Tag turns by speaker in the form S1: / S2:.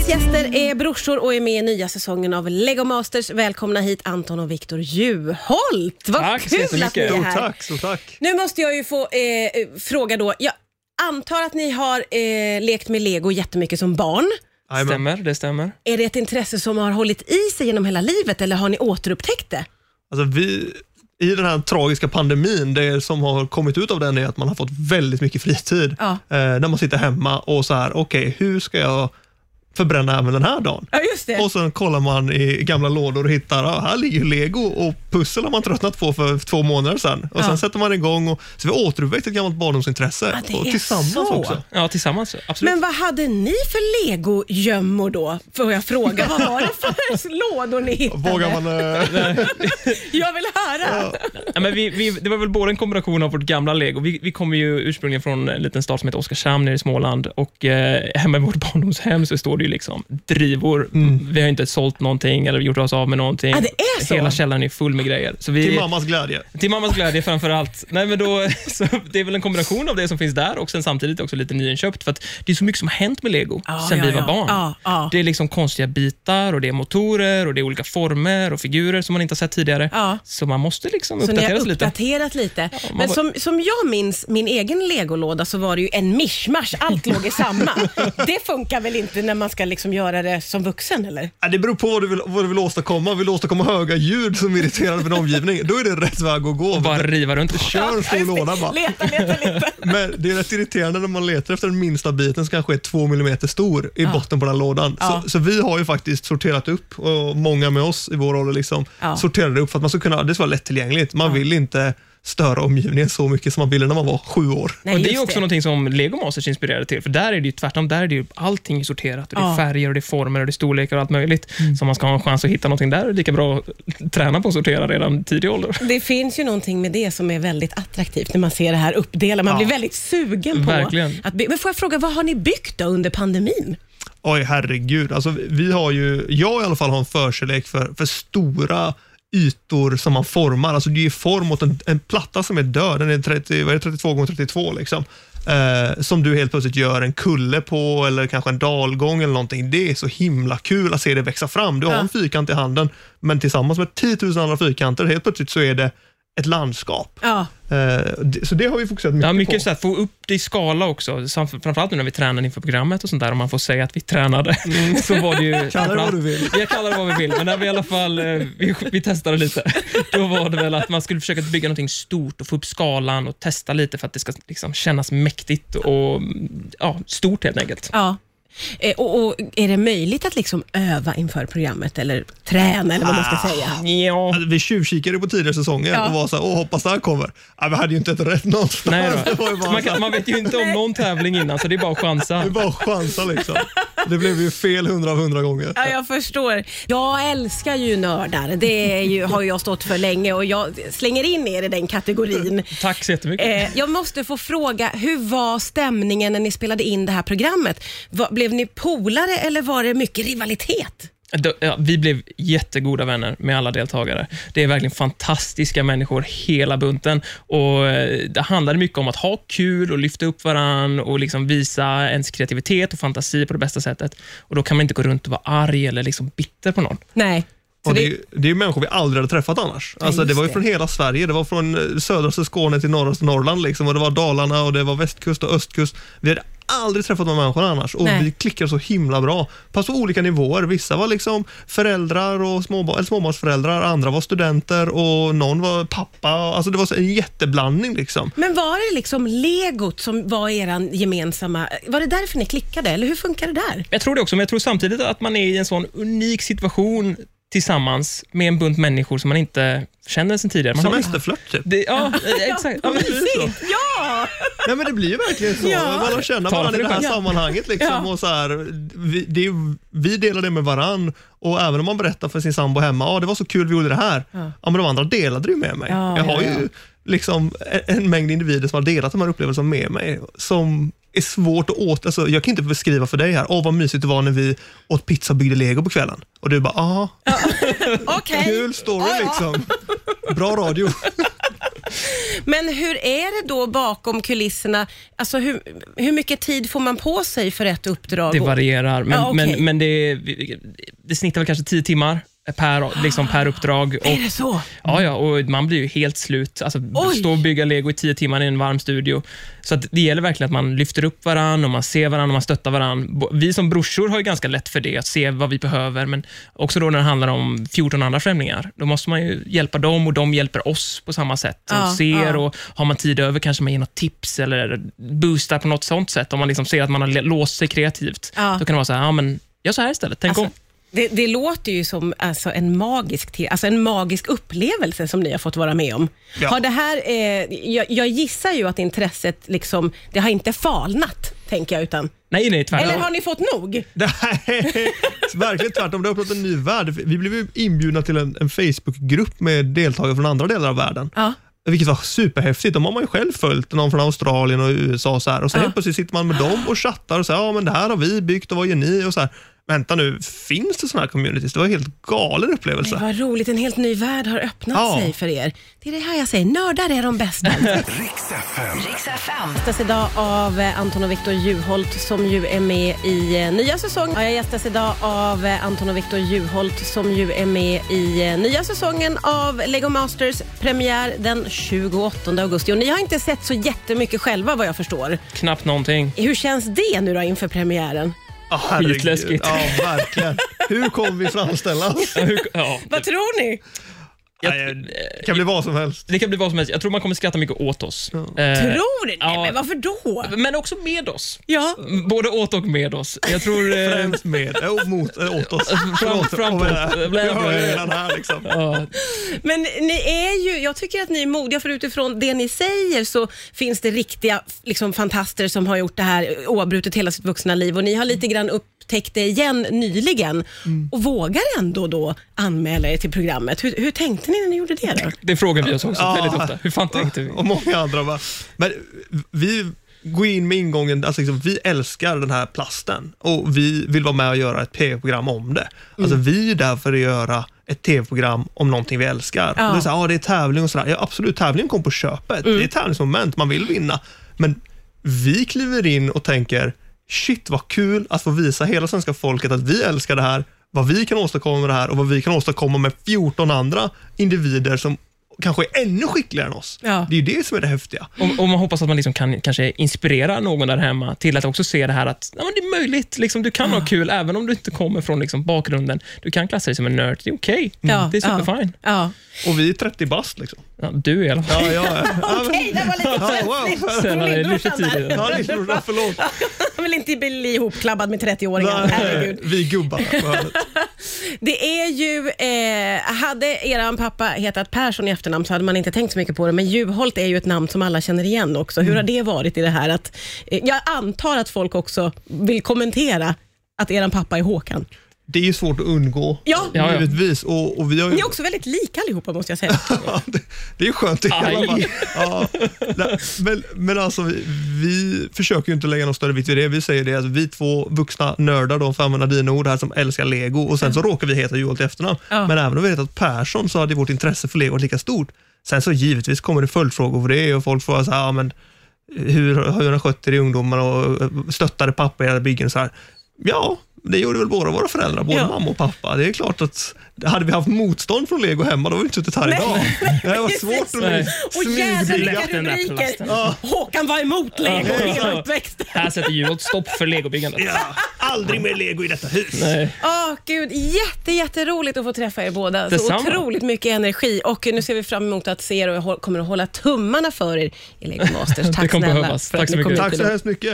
S1: gäster är brorsor och är med i nya säsongen av Lego Masters. Välkomna hit Anton och Viktor Juholt. Vad
S2: Tack så
S1: kul att ni
S2: jättemycket.
S1: är
S3: Jo,
S1: här.
S3: tack, så tack.
S1: Nu måste jag ju få eh, fråga då. Jag antar att ni har eh, lekt med Lego jättemycket som barn.
S3: Jajamän.
S2: Stämmer, det stämmer.
S1: Är det ett intresse som har hållit i sig genom hela livet eller har ni återupptäckt det?
S3: Alltså, vi, I den här tragiska pandemin, det som har kommit ut av den är att man har fått väldigt mycket fritid.
S1: Ja.
S3: Eh, när man sitter hemma och så här, okej, hur ska jag förbränna även den här dagen?
S1: Ja, just det.
S3: Och sen kollar man i gamla lådor och hittar, ah, här ligger ju lego och pussel har man tröttnat på för två månader sedan. Och
S1: Ja.
S3: sen sätter man igång och så vi har återuppväckt ett gammalt barndomsintresse.
S1: Ah, det
S3: och
S1: är
S3: tillsammans
S1: så.
S3: också.
S2: Ja, tillsammans. Absolut.
S1: Men vad hade ni för legogömmor då? Får jag fråga. Vad var det för lådor ni hittade?
S3: Vågar man... Eh,
S1: Jag vill höra.
S2: Ja, men vi, vi, det var väl både en kombination av vårt gamla lego. Vi, vi kommer ju ursprungligen från en liten stad som heter Oskarshamn nere i Småland och eh, hemma i vårt barndomshem så står det ju liksom drivor. Vi har ju inte sålt någonting eller gjort oss av med någonting.
S1: Mm. Ja, det är så.
S2: Hela källaren är full med grejer. Så vi,
S3: till mammas glädje.
S2: Till mammas glädje framför allt. Nej, men då, så det är väl en kombination av det som finns där och sen samtidigt också lite nyinköpt. För att det är så mycket som har hänt med lego
S1: Ja,
S2: sen
S1: ja,
S2: vi var
S1: ja.
S2: barn.
S1: Ja, ja.
S2: Det är liksom konstiga bitar och det är motorer och det är olika former och figurer som man inte har sett tidigare.
S1: Ja.
S2: Så man måste liksom
S1: Så ni har
S2: uppdatera sig lite.
S1: uppdaterat lite.
S2: man
S1: Men
S2: var-
S1: som, som jag minns min egen legolåda så var det ju en mischmasch. Allt låg i samma. Det funkar väl inte när man ska liksom göra det som vuxen eller?
S3: Ja, Det beror på vad du, vill, vad du vill åstadkomma. Vill du åstadkomma höga ljud som irriterar din omgivning, då är det rätt väg att gå.
S2: Bara riva runt.
S3: Kör en stor låda bara.
S1: Leta, leta, leta.
S3: Men det är rätt irriterande när man letar efter den minsta biten som kanske är två millimeter stor i botten på den här lådan.
S1: Ja.
S3: Så, så vi har ju faktiskt sorterat upp, och många med oss i vår ålder, liksom,
S1: Ja.
S3: sorterade upp för att man ska kunna, det ska vara lättillgängligt. Man vill inte störa omgivningen så mycket som man ville när man var sju år.
S1: Nej,
S2: och det är
S1: just
S2: ju också någonting som Lego Masters inspirerade till, för där är det ju tvärtom. Där är det ju allting sorterat. Och det är
S1: Ja. Mm.
S2: färger, och det är former, och det är storlekar och allt möjligt. Så om man ska ha en chans att hitta någonting där, är det lika bra att träna på att sortera redan tidig ålder.
S1: Det finns ju någonting med det som är väldigt attraktivt när man ser det här uppdelat. Man blir väldigt sugen på
S2: Verkligen.
S1: att by- Men får jag fråga, vad har ni byggt då under pandemin?
S3: Oj, herregud. Alltså, vi- vi har ju, jag i alla fall har en förkärlek för, för stora ytor som man formar. Alltså, det är ju form åt en, en platta som är död. Den är 30, vad är det, 32 gånger 32 liksom. Eh, som du helt plötsligt gör en kulle på eller kanske en dalgång eller någonting. Det är så himla kul att se det växa fram. Du har en fyrkant i handen, men tillsammans med 10 000 andra fyrkanter, helt plötsligt så är det ett landskap.
S1: Ja,
S3: Eh, det- så det har vi fokuserat mycket,
S2: Ja,
S3: på.
S2: mycket så här, få upp det i skala också. Sam- Framförallt nu när vi tränade inför programmet och sånt där, om man får säga att vi tränade. Så var det ju,
S3: Kalla Mm. det vad du vill.
S2: Jag kallar det vad vi vill, men när vi i alla fall eh, vi, vi testade lite, då var det väl att man skulle försöka bygga någonting stort och få upp skalan och testa lite för att det ska liksom kännas mäktigt och mm, ja, stort helt enkelt.
S1: ja. Eh, Och, och Är det möjligt att liksom öva inför programmet eller träna eller vad man ska säga?
S2: Ja.
S3: Alltså, vi tjuvkikade på tidigare säsonger
S1: Ja.
S3: och var så här, åh hoppas det här kommer. Ja, vi hade ju inte ett rätt någonstans.
S2: Nej
S3: det var
S2: då.
S3: ju bara,
S2: Man,
S3: så här,
S2: kan, man vet ju inte om någon tävling innan, så det är bara att chansa.
S3: det var chansa liksom. Det blev ju fel hundra av hundra gånger.
S1: Ja, jag förstår. Jag älskar ju nördar. Det är ju, har jag stått för länge och jag slänger in er i den kategorin.
S2: Tack så jättemycket.
S1: Eh, jag måste få fråga, hur var stämningen när ni spelade in det här programmet? Va, blev ni polare eller var det mycket rivalitet?
S2: Då- Ja, vi blev jättegoda vänner med alla deltagare. Det är verkligen fantastiska människor, hela bunten. Och eh, det handlade mycket om att ha kul och lyfta upp varann och liksom visa ens kreativitet och fantasi på det bästa sättet. Och Då kan man inte gå runt och vara arg eller liksom bitter på någon.
S1: Nej. Så
S3: Och det,
S1: det,
S3: är ju- det är ju människor vi aldrig hade träffat annars. Alltså,
S1: just
S3: det var ju
S1: det.
S3: från hela Sverige. Det var från eh, södraste Skåne till norraste Norrland. Liksom. Och det var Dalarna, och det var västkust och östkust. Vi hade aldrig träffat de människorna annars och
S1: Nej.
S3: vi klickar så himla bra. Fast på olika nivåer. Vissa var liksom föräldrar och småbarn, eller småbarnsföräldrar, andra var studenter och någon var pappa. Alltså, det var så en jätteblandning. Liksom.
S1: men var det liksom legot som var er gemensamma... Var det därför ni klickade eller hur funkar det där?
S2: Jag tror det också, men jag tror samtidigt att man är i en sån unik situation tillsammans med en bunt människor som man inte känner sen tidigare. Man har-
S3: Semesterflört typ.
S2: det, ja, exakt. Ja, men-
S1: Ja!
S3: Nej men det blir ju verkligen så.
S1: Ja.
S3: Man lär känna
S2: Tala
S3: varandra
S2: för
S3: i det
S2: dig
S3: här
S2: själv.
S3: sammanhanget. Liksom,
S1: Ja.
S3: och så här, vi, det är, ju- vi delar det med varann och även om man berättar för sin sambo hemma, ah, det var så kul vi gjorde det här. Ja. men de andra delade det ju med mig.
S1: Ja,
S3: Jag
S1: ja,
S3: har
S1: ja.
S3: ju liksom en, en mängd individer som har delat de här upplevelserna med mig som är svårt att åt... Alltså, jag kan inte beskriva för dig här, åh vad mysigt det var när vi åt pizza och byggde lego på kvällen. Och du bara, ah,
S1: Okej.
S3: kul story
S1: Ja, ja.
S3: liksom. Bra radio.
S1: Men hur är det då bakom kulisserna? Alltså hur, hur mycket tid får man på sig för ett uppdrag?
S2: Det varierar, men,
S1: Ja, okej.
S2: men, men det, det snittar väl kanske 10 timmar per, liksom per uppdrag. Och,
S1: är det så?
S2: ja, ja, och man blir ju helt slut. Alltså,
S1: Oj!
S2: stå och bygga lego i 10 timmar i en varm studio. Så att det gäller verkligen att man lyfter upp varandra, och man ser varandra och man stöttar varandra. Vi som brorsor har ju ganska lätt för det, att se vad vi behöver, men också då när det handlar om 14 andra främlingar. Då måste man ju hjälpa dem och de hjälper oss på samma sätt. Och
S1: Ja,
S2: ser
S1: ja.
S2: och har man tid över kanske man ger något tips eller boostar på något sånt sätt. Om man liksom ser att man har låst sig kreativt,
S1: Ja.
S2: då kan det vara så här, ja men gör så här istället, tänk om.
S1: Alltså, det, det låter ju som alltså, en, magisk te- alltså, en magisk upplevelse som ni har fått vara med om.
S3: Ja.
S1: Har det här, eh, jag, jag gissar ju att intresset liksom, det har inte falnat, tänker jag. Utan,
S2: Nej, nej, tvärtom.
S1: Eller har ni fått nog?
S3: Nej, verkligen tvärtom. Det har öppnat en ny värld. Vi blev ju inbjudna till en, en Facebookgrupp med deltagare från andra delar av världen.
S1: Ja.
S3: Vilket var superhäftigt. De har man ju själv följt, någon från Australien och USA. Och, så här. och sen helt plötsligt sitter man med dem och chattar och säger ja men det här har vi byggt och vad gör ni? Och så här. Vänta nu, finns det sådana här communities? Det var en helt galen upplevelse.
S1: Nej, vad roligt, en helt ny värld har öppnat
S3: Ja.
S1: sig för er. Det är det här jag säger, nördar är de bästa.
S4: Riks FM.
S5: Riks FM.
S1: gästas idag av eh, Anton och Viktor Juholt som ju är med i eh, nya säsongen. Jag gästas idag av eh, Anton och Viktor Juholt som ju är med i eh, nya säsongen av Lego Masters. Premiär den 28 augusti. Och ni har inte sett så jättemycket själva vad jag förstår.
S2: Knappt någonting.
S1: Hur känns det nu då inför premiären?
S3: Ja, herregud.
S2: Skitläskigt.
S3: Ja, verkligen. Hur kom vi framställa oss?
S2: Ja, hur- ja.
S1: Vad tror ni?
S3: Nej, Det kan bli vad som helst.
S2: Det kan bli vad som helst. Jag tror man kommer skratta mycket åt oss. Eh,
S1: Tror ni?
S2: ja.
S1: Nej, men varför då?
S2: Men också med oss.
S1: Ja.
S2: Både åt och med oss. Jag tror... Eh,
S3: Främst med, äh, mot, äh, åt oss.
S2: fram, fram på.
S3: Vi hör ju redan här liksom.
S2: Ja,
S1: Men ni är ju, jag tycker att ni är modiga för utifrån det ni säger så finns det riktiga liksom, fantaster som har gjort det här oavbrutet hela sitt vuxna liv och ni har lite grann upptäckt det igen nyligen
S2: Mm.
S1: och vågar ändå då anmäla er till programmet. Hur, hur tänkte ni när ni gjorde det då?
S2: det frågar vi oss också
S3: Ja.
S2: väldigt ofta. Hur fan tänkte vi?
S3: Och många andra bara. Men vi går in med ingången, alltså liksom, vi älskar den här plasten och vi vill vara med och göra ett tv-program om det. Alltså vi är där för att göra ett tv-program om någonting vi älskar.
S1: Ja.
S3: Och det, är så här, ah, det är tävling och sådär. Ja, absolut, tävlingen kom på köpet. Det är tävlingsmoment, man vill vinna. Men vi kliver in och tänker, shit vad kul att få visa hela svenska folket att vi älskar det här, vad vi kan åstadkomma med det här och vad vi kan åstadkomma med 14 andra individer som kanske är ännu skickligare än oss.
S1: Ja.
S3: Det är ju det som är det häftiga.
S2: Och, och man hoppas att man liksom kan kanske inspirera någon där hemma till att också se det här att ja, men det är möjligt. Liksom, du kan ha kul även om du inte kommer från liksom, bakgrunden. Du kan klassa dig som en nörd. Det är okej.
S1: Ja,
S2: det är superfine.
S1: Ja. ja.
S3: Och vi är 30 bast liksom.
S2: Ja, du i alla fall.
S3: Ja, ja. ja, men,
S1: Hej, det var lite
S3: ja wow.
S2: Senare, lite
S1: Lindbrorsan där.
S2: tidigare.
S3: Ja, det är så- förlåt.
S1: Jag vill inte bli ihopklabbad med 30-åringar. Herregud.
S3: Nej, vi är gubbarna. på hörnet.
S1: Det är ju, eh, hade eran pappa hetat Persson i efternamn så hade man inte tänkt så mycket på det, men Juholt är ju ett namn som alla känner igen också. Hur har det varit i det här att, eh, jag antar att folk också vill kommentera att eran pappa är Håkan.
S3: Det är ju svårt att undgå,
S1: Ja.
S2: Ja, ja.
S3: givetvis. Och, och vi har ju,
S1: Ni är också väldigt lika allihopa måste jag säga.
S3: Ja, det, det är skönt i
S2: Aj.
S3: alla fall. Ja, nej, men, men alltså, vi, vi försöker ju inte lägga någon större vikt vid det. Vi säger det, alltså, vi två vuxna nördar, då, för att använda dina ord, här, som älskar lego och sen så råkar vi heta Joel till efternamn.
S1: Ja.
S3: Men även om vi hade hetat Persson så hade vårt intresse för lego varit lika stort. Sen så givetvis kommer det följdfrågor på det och folk får säga, ja, men hur har hur har ni skött er i ungdomarna och eh, stöttade pappa i era byggen? Och så här. Ja, det gjorde väl båda våra föräldrar, både
S1: Ja.
S3: mamma och pappa. Det är klart att hade vi haft motstånd från lego hemma, då hade vi inte suttit här idag. Det här var svårt
S2: Nej.
S3: att
S1: Och jädrar
S3: smyga.
S1: vilka
S2: Smyglagt den där
S1: rubriker!
S2: plasten.
S1: Håkan var emot Lego hela uppväxten.
S2: Här sätter Juholt stopp för legobyggandet.
S3: Ja, aldrig mer lego i detta hus.
S2: Nej.
S1: Åh gud, jätte, jätteroligt att få träffa er båda. Så
S2: Detsamma.
S1: otroligt mycket energi och nu ser vi fram emot att se er och jag hå- kommer att hålla tummarna för er i Lego Masters. Tack
S2: Det kommer
S1: snälla
S2: behövas.
S1: för att
S2: Tack så
S1: ni kom hit
S2: mycket.
S3: Tack så
S1: idag.
S3: hemskt mycket.